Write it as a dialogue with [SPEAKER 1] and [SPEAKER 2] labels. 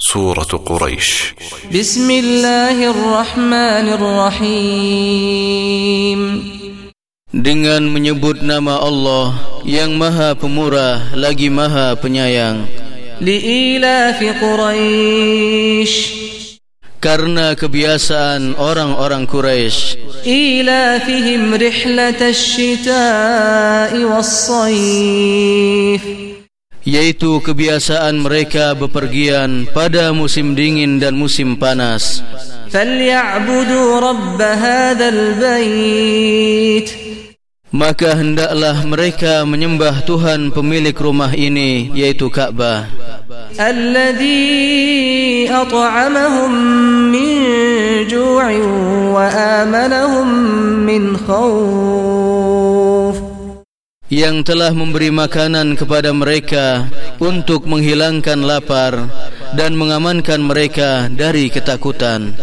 [SPEAKER 1] سورة قريش
[SPEAKER 2] بسم الله الرحمن الرحيم
[SPEAKER 3] Dengan menyebut nama Allah yang maha pemurah lagi maha penyayang
[SPEAKER 2] لإيلاف قريش
[SPEAKER 3] Karena kebiasaan orang-orang Quraisy
[SPEAKER 2] إيلافهم رحلة الشتاء والصيف
[SPEAKER 3] Yaitu kebiasaan mereka bepergian pada musim dingin dan musim panas
[SPEAKER 2] فليعبدوا رب هذا البيت
[SPEAKER 3] Maka hendaklah mereka menyembah Tuhan pemilik rumah ini yaitu Ka'bah
[SPEAKER 2] الذي أطعمهم من جوع وآمنهم من خوف
[SPEAKER 3] yang telah memberi makanan kepada mereka untuk menghilangkan lapar dan mengamankan mereka dari ketakutan.